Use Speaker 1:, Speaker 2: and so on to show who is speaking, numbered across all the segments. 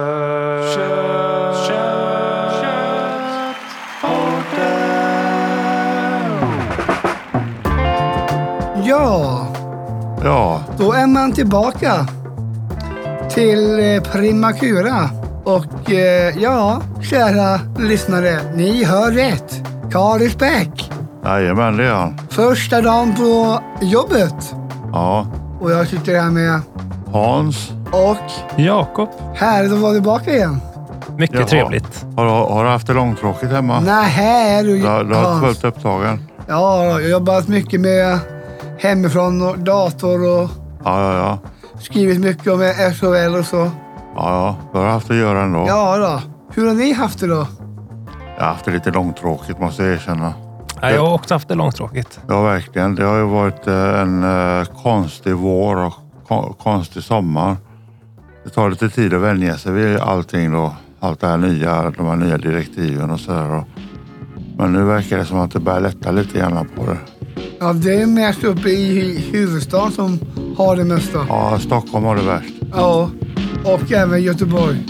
Speaker 1: Kött. Kött.
Speaker 2: Ja,
Speaker 1: Ja,
Speaker 2: då är man tillbaka till eh, Primakura. Och eh, ja, kära lyssnare, ni hör rätt. Karis Bäck.
Speaker 1: jajamän det är han.
Speaker 2: Första dagen på jobbet.
Speaker 1: Ja,
Speaker 2: Och jag sitter här med.
Speaker 1: Hans.
Speaker 2: Och
Speaker 3: Jakob.
Speaker 2: härligt att vara tillbaka igen.
Speaker 3: Mycket
Speaker 1: Jaha.
Speaker 3: trevligt.
Speaker 1: Har, har du haft det långtråkigt hemma?
Speaker 2: Nähä är du
Speaker 1: Du, har- du har
Speaker 2: Hans.
Speaker 1: fullt upptagen?
Speaker 2: Ja, jag har jobbat mycket med hemifrån och dator och
Speaker 1: Ja, ja, ja.
Speaker 2: skrivit mycket om SHL och så.
Speaker 1: Ja, ja. Du har haft att göra ändå.
Speaker 2: Ja då. Hur har ni haft det då?
Speaker 1: Jag har haft det lite långtråkigt måste jag erkänna.
Speaker 3: Ja, jag har också haft det långtråkigt.
Speaker 1: Ja, verkligen. Det har ju varit eh, en eh, konstig vår och kon- konstig sommar. Det tar lite tid att vänja sig vid allting då. Allt det här nya, de här nya direktiven och sådär. och- Men nu verkar det som att det börjar lätta lite grann på det.
Speaker 2: Ja, det är mest uppe i hu- huvudstaden som har det mesta.
Speaker 1: Ja, Stockholm har det värst.
Speaker 2: Ja, och även Göteborg.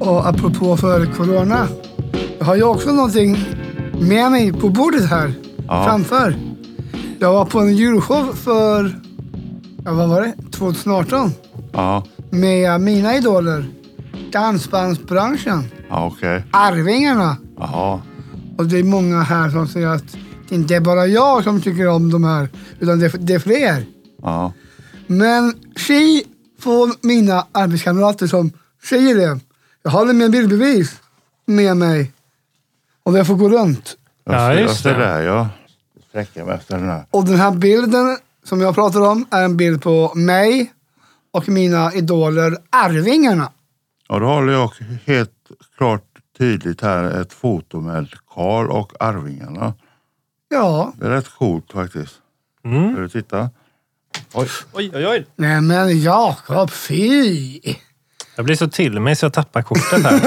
Speaker 2: Och apropå för corona. Jag har ju också någonting med mig på bordet här
Speaker 1: Ja.
Speaker 2: framför. Jag var på en julshow för, ja vad var det, 2018
Speaker 1: Ja,
Speaker 2: med mina idoler. Dansbandsbranschen,
Speaker 1: ja okej.
Speaker 2: Arvingarna.
Speaker 1: Jaha.
Speaker 2: Och det är många här som säger att det inte är bara jag som tycker om de här, utan det är, det är fler.
Speaker 1: Ja,
Speaker 2: Men tji från mina arbetskamrater som säger det. Jag har med bildbevis med mig. Och jag får gå runt.
Speaker 1: jag
Speaker 3: Ja,
Speaker 1: ser, jag
Speaker 3: just
Speaker 1: ser
Speaker 3: det.
Speaker 1: det. här, ja. Jag sträcker mig efter den här.
Speaker 2: Och den här bilden som jag pratar om är en bild på mig och mina idoler Arvingarna.
Speaker 1: Ja, då håller jag helt klart tydligt här ett foto med Karl och Arvingarna.
Speaker 2: Ja,
Speaker 1: Det är rätt coolt faktiskt.
Speaker 3: Mm.
Speaker 1: Vill du titta? Oj.
Speaker 3: Oj, oj, oj.
Speaker 2: nej men Jakob, fy!
Speaker 3: Jag blir så till mig så jag tappar kortet här.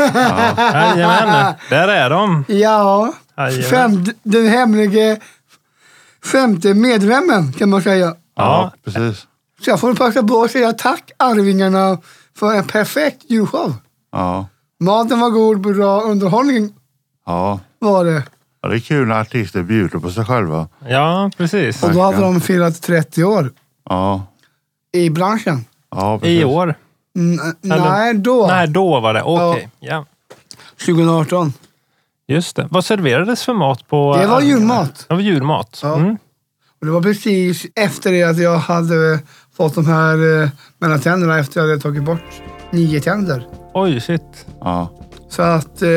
Speaker 3: Jajamän, där är de.
Speaker 2: Ja,
Speaker 3: Jajamän.
Speaker 2: fem, den hemlige femte medlemmen kan man säga.
Speaker 3: Ja.
Speaker 1: precis.
Speaker 2: Så jag får passa på att säga tack Arvingarna för en perfekt julshow.
Speaker 1: Ja.
Speaker 2: Maten var god, bra underhållning
Speaker 1: Ja.
Speaker 2: var det.
Speaker 1: ja, det är kul när artister bjuder på sig själva.
Speaker 3: Ja, precis.
Speaker 2: Och då hade
Speaker 1: Verkligen.
Speaker 2: de firat 30 år
Speaker 1: Ja,
Speaker 2: i branschen.
Speaker 1: ja precis.
Speaker 3: I år?
Speaker 2: N- nej, då.
Speaker 3: Nej, då var det. Okej. Ja.
Speaker 2: 2018.
Speaker 3: Just det. Vad serverades för mat på...
Speaker 2: Det var
Speaker 3: eh,
Speaker 2: julmat.
Speaker 3: Det var julmat.
Speaker 2: Ja.
Speaker 3: Mm.
Speaker 2: Och det var precis efter det att jag hade eh, fått de här eh, mellan tänderna efter jag hade tagit bort nio tänder.
Speaker 3: Oj, shit.
Speaker 1: Ja.
Speaker 2: Så att eh,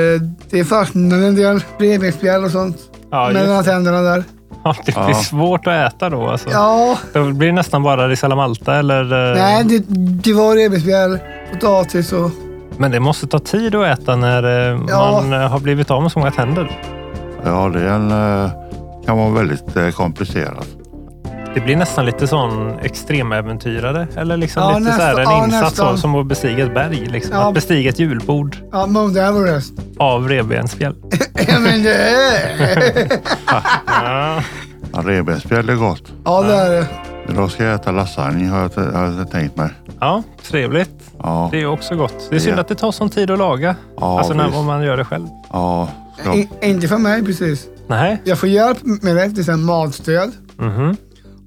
Speaker 2: det fastnade en del revbensspjäll och sånt
Speaker 3: Ja, just
Speaker 2: mellan
Speaker 3: det.
Speaker 2: tänderna där.
Speaker 3: Ja, det blir
Speaker 1: Ja.
Speaker 3: svårt att äta då. Alltså.
Speaker 2: Ja,
Speaker 3: Det blir nästan bara risalamalta eller... eh,
Speaker 2: nej det, det var revbensspjäll, potatis och...
Speaker 3: Men det måste ta tid att äta när eh,
Speaker 2: Ja.
Speaker 3: man eh, har blivit av med så många tänder.
Speaker 1: ja, det är en, eh, kan vara väldigt eh, komplicerat.
Speaker 3: Det blir nästan lite sån extremäventyrare. Eller liksom
Speaker 2: Ja,
Speaker 3: lite så här
Speaker 2: nästan-
Speaker 3: en
Speaker 2: ja,
Speaker 3: insats
Speaker 2: nästan.
Speaker 3: så, som att bestiga ett berg. Liksom.
Speaker 2: Ja.
Speaker 3: Att bestiga ett julbord
Speaker 2: Ja, Mount Everest.
Speaker 3: av revbensspjäll.
Speaker 2: Ja, men det är...
Speaker 1: Ja, Revbensspjäll är gott.
Speaker 2: Ja, det är det.
Speaker 1: Idag ska jag äta lasagne har jag, t- har jag tänkt mig.
Speaker 3: Ja, trevligt.
Speaker 1: Ja,
Speaker 3: Det är också gott. Det är synd
Speaker 1: Ja.
Speaker 3: att det tar sån tid att laga.
Speaker 1: Ja,
Speaker 3: alltså när
Speaker 1: visst.
Speaker 3: om man gör det själv.
Speaker 1: ja. Ska,
Speaker 2: I, inte för mig precis.
Speaker 3: Nej.
Speaker 2: Jag får hjälp med det, det är så här matstöd.
Speaker 3: Mhm.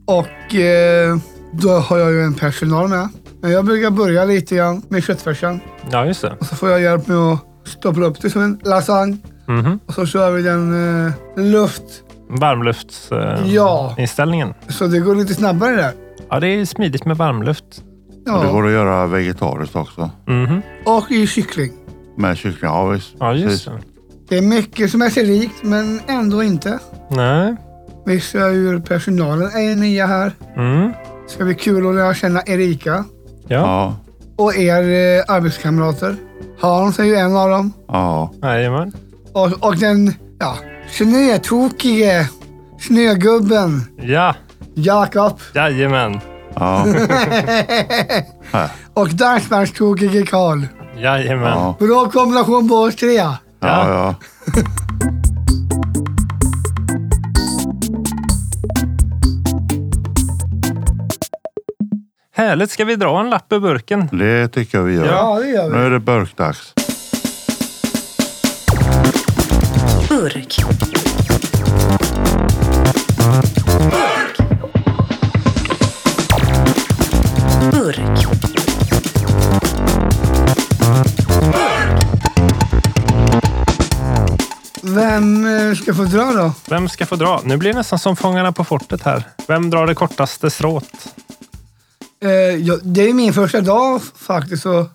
Speaker 2: Och eh, då har jag ju en personal med. Men jag brukar börja lite grann med köttfärsen.
Speaker 3: Ja, just det.
Speaker 2: Och så får jag hjälp med att stoppa upp det som en lasagne.
Speaker 3: Mhm.
Speaker 2: Och så kör vi den eh, luft.
Speaker 3: Varmluftsinställningen. Eh,
Speaker 2: Ja.
Speaker 3: inställningen.
Speaker 2: Så det går lite snabbare där.
Speaker 3: ja, det är smidigt med varmluft.
Speaker 1: Det
Speaker 2: Ja.
Speaker 1: går att göra vegetariskt också.
Speaker 3: Mhm.
Speaker 2: Och i kyckling.
Speaker 1: Med kyckling, ja visst.
Speaker 3: Ja, just
Speaker 1: Precis.
Speaker 3: det.
Speaker 2: Det är mycket som är sig likt, men ändå inte.
Speaker 3: Nej.
Speaker 2: Vissa ur personalen är nya här.
Speaker 3: Mm.
Speaker 2: Det ska bli kul att lära känna Erika.
Speaker 3: Ja,
Speaker 1: Ja,
Speaker 2: och er eh, arbetskamrater. Hans är ju en av dem.
Speaker 1: ja,
Speaker 3: jajamän.
Speaker 2: Och, och den ja, snötokige snögubben
Speaker 3: Ja,
Speaker 2: Jakob.
Speaker 3: jajamän.
Speaker 1: ja,
Speaker 2: och dansbandstokige Karl.
Speaker 3: Jajamän.
Speaker 1: ja.
Speaker 2: Bra kombination på oss tre.
Speaker 1: Ja, ja.
Speaker 3: Härligt. Ska vi dra en lapp ur burken?
Speaker 1: Det tycker jag vi gör.
Speaker 2: Ja, det gör vi.
Speaker 1: Nu är det burkdags.
Speaker 4: Burk. Burk.
Speaker 2: Vem eh, ska få dra då?
Speaker 3: Vem ska få dra? Nu blir det nästan som Fångarna på fortet här. Vem drar det kortaste strået?
Speaker 2: Eh, ja, det är ju min första dag faktiskt. Så,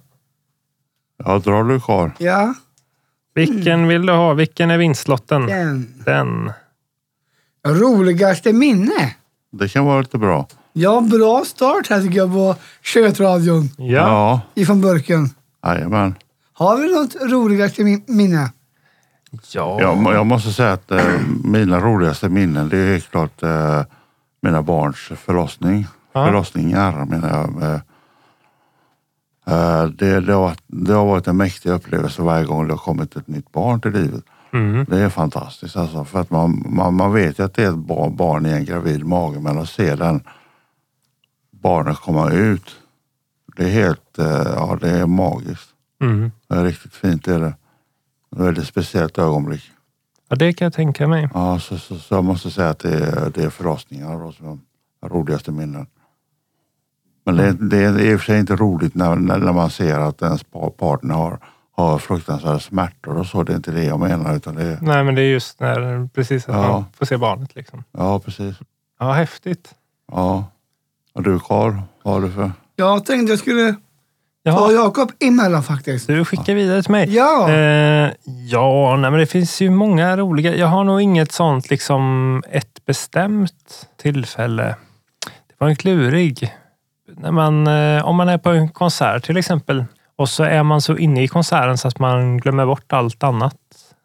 Speaker 1: Ja, drar du Karl?
Speaker 2: ja,
Speaker 3: Vilken vill du ha? Vilken är vinstlotten?
Speaker 2: den.
Speaker 3: Den.
Speaker 2: Roligaste minne?
Speaker 1: Det kan vara lite bra.
Speaker 2: Ja, bra start här tycker jag på Kötradion
Speaker 3: Ja.
Speaker 2: ifrån burken.
Speaker 1: Ja, jajamän.
Speaker 2: Har vi något roligaste min- minne?
Speaker 3: Ja.
Speaker 1: Jag, må- jag måste säga att eh, mina roligaste minnen det är helt klart eh, mina barns förlossning.
Speaker 3: Ja.
Speaker 1: Förlossningar menar jag. Eh, eh, det, det, har, varit- det har varit en mäktig upplevelse varje gång det har kommit ett nytt barn till livet.
Speaker 3: Mm.
Speaker 1: Det är fantastiskt alltså, för att man, man, man vet ju att det är ett bar- barn i en gravid mage men att se den barnet komma ut, det är helt, eh, ja det är magiskt.
Speaker 3: Mm.
Speaker 1: Det är riktigt fint det är det. Det är ett väldigt speciellt ögonblick.
Speaker 3: ja, det kan jag tänka mig.
Speaker 1: Ja, så, så, så jag måste säga att det är, det är förlossningar då, som är de roligaste minnen. Men det,
Speaker 3: Mm.
Speaker 1: det är i och för sig inte roligt när, när, när man ser att ens pa- partner har, har fruktansvärda smärtor och så. Det är inte det jag menar. Utan det är,
Speaker 3: Nej, men det är just när precis att
Speaker 1: Ja.
Speaker 3: man får se barnet. Liksom.
Speaker 1: ja, precis.
Speaker 3: Ja, häftigt.
Speaker 1: Ja. Och du Karl, vad har du för?
Speaker 2: Jag tänkte jag skulle ta
Speaker 3: Ja,
Speaker 2: Jakob emellan faktiskt.
Speaker 3: du skickar vidare till mig.
Speaker 2: Ja,
Speaker 3: Eh, ja, nej, men det finns ju många roliga. Jag har nog inget sånt liksom ett bestämt tillfälle. Det var en klurig. När man, eh, om man är på en konsert till exempel och så är man så inne i konserten så att man glömmer bort allt annat.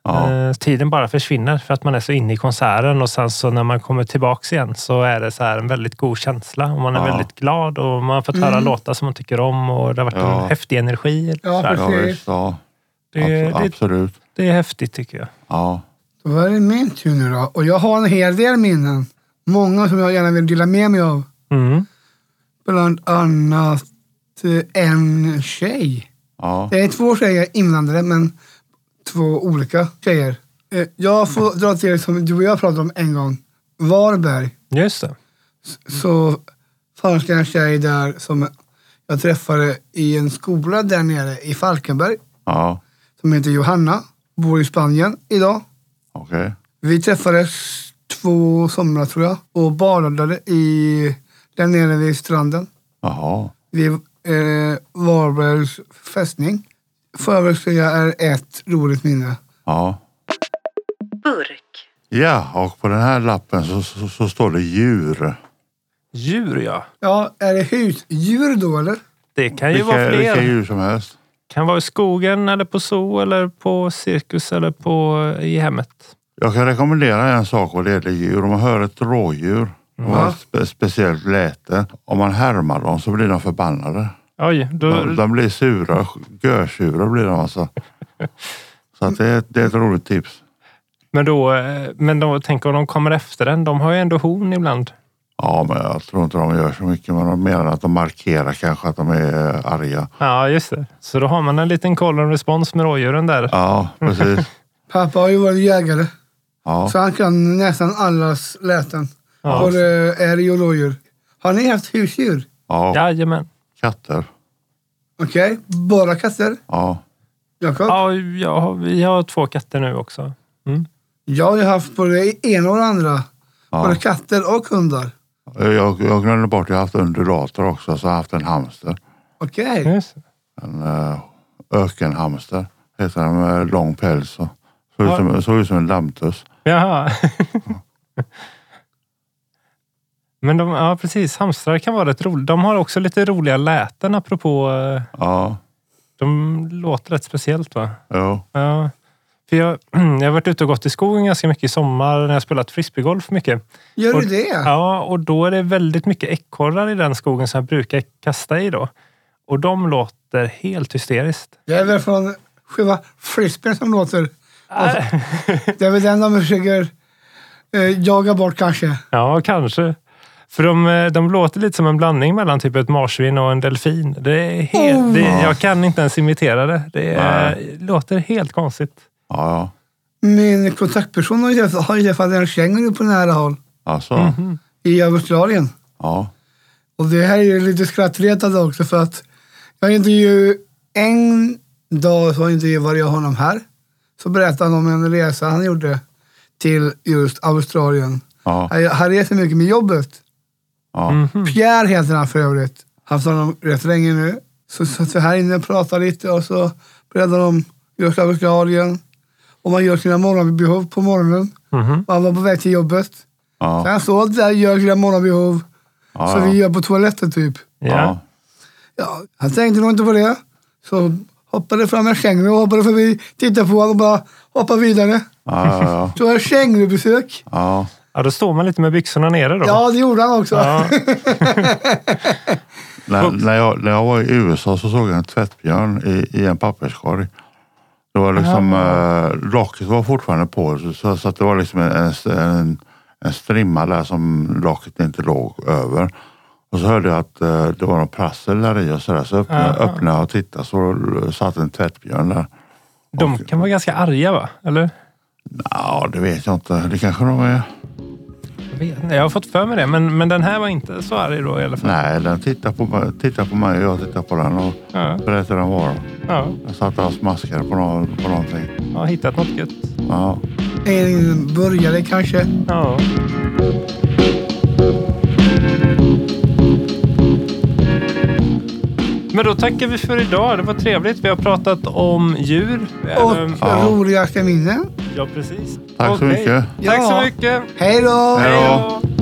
Speaker 1: Ja,
Speaker 3: Eh, Tiden bara försvinner för att man är så inne i konserten och sen så när man kommer tillbaks igen så är det så här en väldigt god känsla och man är
Speaker 1: Ja. Mm.
Speaker 3: väldigt glad och man har fått höra låtar som man tycker om och det har varit
Speaker 1: Ja.
Speaker 3: en häftig energi.
Speaker 2: Ja,
Speaker 3: Så här.
Speaker 1: ja
Speaker 2: precis.
Speaker 1: visst. Ja,
Speaker 3: det,
Speaker 1: abs-
Speaker 3: det,
Speaker 1: absolut.
Speaker 3: det är häftigt tycker jag.
Speaker 1: Ja.
Speaker 2: då var det min tur nu då. Och jag har en hel del minnen. Många som jag gärna vill dela med mig av.
Speaker 3: Mm.
Speaker 2: Bland annat eh, en tjej.
Speaker 1: Ja.
Speaker 2: Det är två tjejer inblandade, men två olika tjejer. Eh, Jag får dra till det som du och jag pratade om en gång. Varberg.
Speaker 3: Just det.
Speaker 2: så fanns det en tjej där som jag träffade i en skola där nere i Falkenberg
Speaker 1: Ja.
Speaker 2: som heter Johanna. Bor i Spanien idag.
Speaker 1: Okej.
Speaker 2: Vi träffades två somrar tror jag och badade i, där nere vid stranden
Speaker 1: Jaha.
Speaker 2: vid eh, Varbergs fästning. Får jag väl säga är ett roligt minne.
Speaker 1: Ja.
Speaker 4: Burk.
Speaker 1: Ja, och på den här lappen så, så, så står det djur.
Speaker 3: Djur ja.
Speaker 2: Ja, är det husdjur då eller?
Speaker 3: Det kan ju
Speaker 1: Vilka,
Speaker 3: vara fler.
Speaker 1: vilka
Speaker 3: Det
Speaker 1: djur som helst.
Speaker 3: kan vara i skogen eller på zoo eller på cirkus eller på, i hemmet.
Speaker 1: Jag kan rekommendera en sak vad det gäller djur. Om man hör ett rådjur, mm.
Speaker 2: Ja.
Speaker 1: ett spe, speciellt läte, om man härmar dem så blir de förbannade.
Speaker 3: Oj, då,
Speaker 1: De, de blir sura, görsura blir de alltså. Så att det, är ett- det är ett roligt tips.
Speaker 3: Men, då, eh, men då, tänk om de kommer efter den. De har ju ändå horn ibland.
Speaker 1: Ja, men jag tror inte de gör så mycket, men de menar att de markerar kanske att de är eh, arga.
Speaker 3: Ja, just det. Så då har man en liten call and response med rådjuren där.
Speaker 1: Ja, precis.
Speaker 2: Pappa har ju varit jägare
Speaker 1: Ja.
Speaker 2: så han kan nästan allas läten.
Speaker 3: Ja.
Speaker 2: Både älg och rådjur. Har ni haft husdjur?
Speaker 1: ja,
Speaker 3: Jajamän.
Speaker 1: katter.
Speaker 2: Okej, bara katter?
Speaker 1: Ja,
Speaker 2: Jakob?
Speaker 3: Ja, jag har, vi har två katter nu också. Mm.
Speaker 2: Jag har ju haft både ena och det andra. Både
Speaker 1: ja.
Speaker 2: katter och hundar.
Speaker 1: Jag, jag glömde bort, jag har haft undulater också, så jag har haft en hamster.
Speaker 2: Okej.
Speaker 3: Just. det.
Speaker 1: En eh, ökenhamster heter den med lång päls. Och såg, ut som, såg ut som en lammtuss.
Speaker 3: Jaha. Men de, ja, precis. Hamstrar kan vara rätt roliga. De har också lite roliga läten apropå. eh,
Speaker 1: Ja,
Speaker 3: De låter rätt speciellt va?
Speaker 1: jo,
Speaker 3: Ja. För jag, jag har varit ute och gått i skogen ganska mycket i sommar när jag spelat frisbeegolf mycket.
Speaker 2: Gör du
Speaker 3: Och-
Speaker 2: det?
Speaker 3: Ja, och då är det väldigt mycket ekorrar i den skogen som jag brukar kasta i då. Och de låter helt hysteriskt.
Speaker 2: Det är väl från själva frisbeen som låter.
Speaker 3: Äh.
Speaker 2: Det är väl den de försöker eh, jaga bort kanske.
Speaker 3: Ja, kanske. För de, eh, de låter lite som en blandning mellan typ ett marsvin och en delfin. Det är helt, det, jag kan inte ens imitera det. Det är, låter helt konstigt.
Speaker 1: Ja, ja.
Speaker 2: Min kontaktperson har ju träffat, har ju träffat en känguru på nära håll
Speaker 1: Alltså,
Speaker 2: i Australien.
Speaker 1: ja.
Speaker 2: Och det här är ju lite skrattretande också för att jag intervju en dag så intervjuade jag honom här. Så berättade han om en resa han gjorde till just Australien.
Speaker 1: ja,
Speaker 2: Han- Han reser mycket med jobbet.
Speaker 1: ja.
Speaker 2: Mhm. Pierre heter han för övrigt. Han står honom rätt länge nu. Så satt vi här inne och pratade lite och så berättade de just Australien. Och man gör sina morgonbehov på morgonen.
Speaker 3: Mhm.
Speaker 2: Och han var på väg till jobbet.
Speaker 1: ja.
Speaker 2: Så han står där och gör sina morgonbehov.
Speaker 1: ja,
Speaker 2: Så
Speaker 1: ja.
Speaker 2: vi gör på toaletten typ.
Speaker 3: Ja.
Speaker 1: Ja.
Speaker 2: Ja, han tänkte nog inte på det. Så hoppade fram en känguru och hoppade förbi, tittade på honom och bara hoppade vidare.
Speaker 1: Ja, ja,
Speaker 2: Så var det kängurubesök.
Speaker 1: ja.
Speaker 3: ja, då står man lite med byxorna nere då.
Speaker 2: Ja, det gjorde han också.
Speaker 3: Ja.
Speaker 1: När, när, jag, när jag var i USA så såg jag en tvättbjörn i, i en papperskorg. Det var liksom, eh, locket var fortfarande på så- så, så att det var liksom en, en, en strimma där som locket inte låg över. Och så hörde jag att eh, det var någon prassel där i och sådär så öppnade,
Speaker 3: Aha.
Speaker 1: öppnade jag och tittade så satt en tvättbjörn där.
Speaker 3: De kan vara ganska arga va? Eller?
Speaker 1: Ja, det vet jag inte. Det kanske de är.
Speaker 3: Jag, vet inte. jag har fått för mig det, men, men den här var inte så arg då i alla fall.
Speaker 1: Nej, den tittar på, mig- tittar på mig och jag tittar på den och
Speaker 3: Ja,
Speaker 1: berättar den var.
Speaker 3: ja.
Speaker 1: Jag satt och smaskade på, nå- på någonting.
Speaker 3: Jag har hittat något gött.
Speaker 1: Ja.
Speaker 2: En burgare kanske.
Speaker 3: Ja. Men då tackar vi för idag. Det var trevligt. Vi har pratat om djur.
Speaker 2: Och
Speaker 3: Ehm,
Speaker 1: Ja.
Speaker 2: roligaste minnen.
Speaker 3: Ja, precis.
Speaker 1: Tack så
Speaker 3: Okej.
Speaker 1: mycket.
Speaker 3: Tack så
Speaker 2: Ja.
Speaker 3: mycket.
Speaker 2: Hej då!
Speaker 1: Hej då.
Speaker 3: Hej då.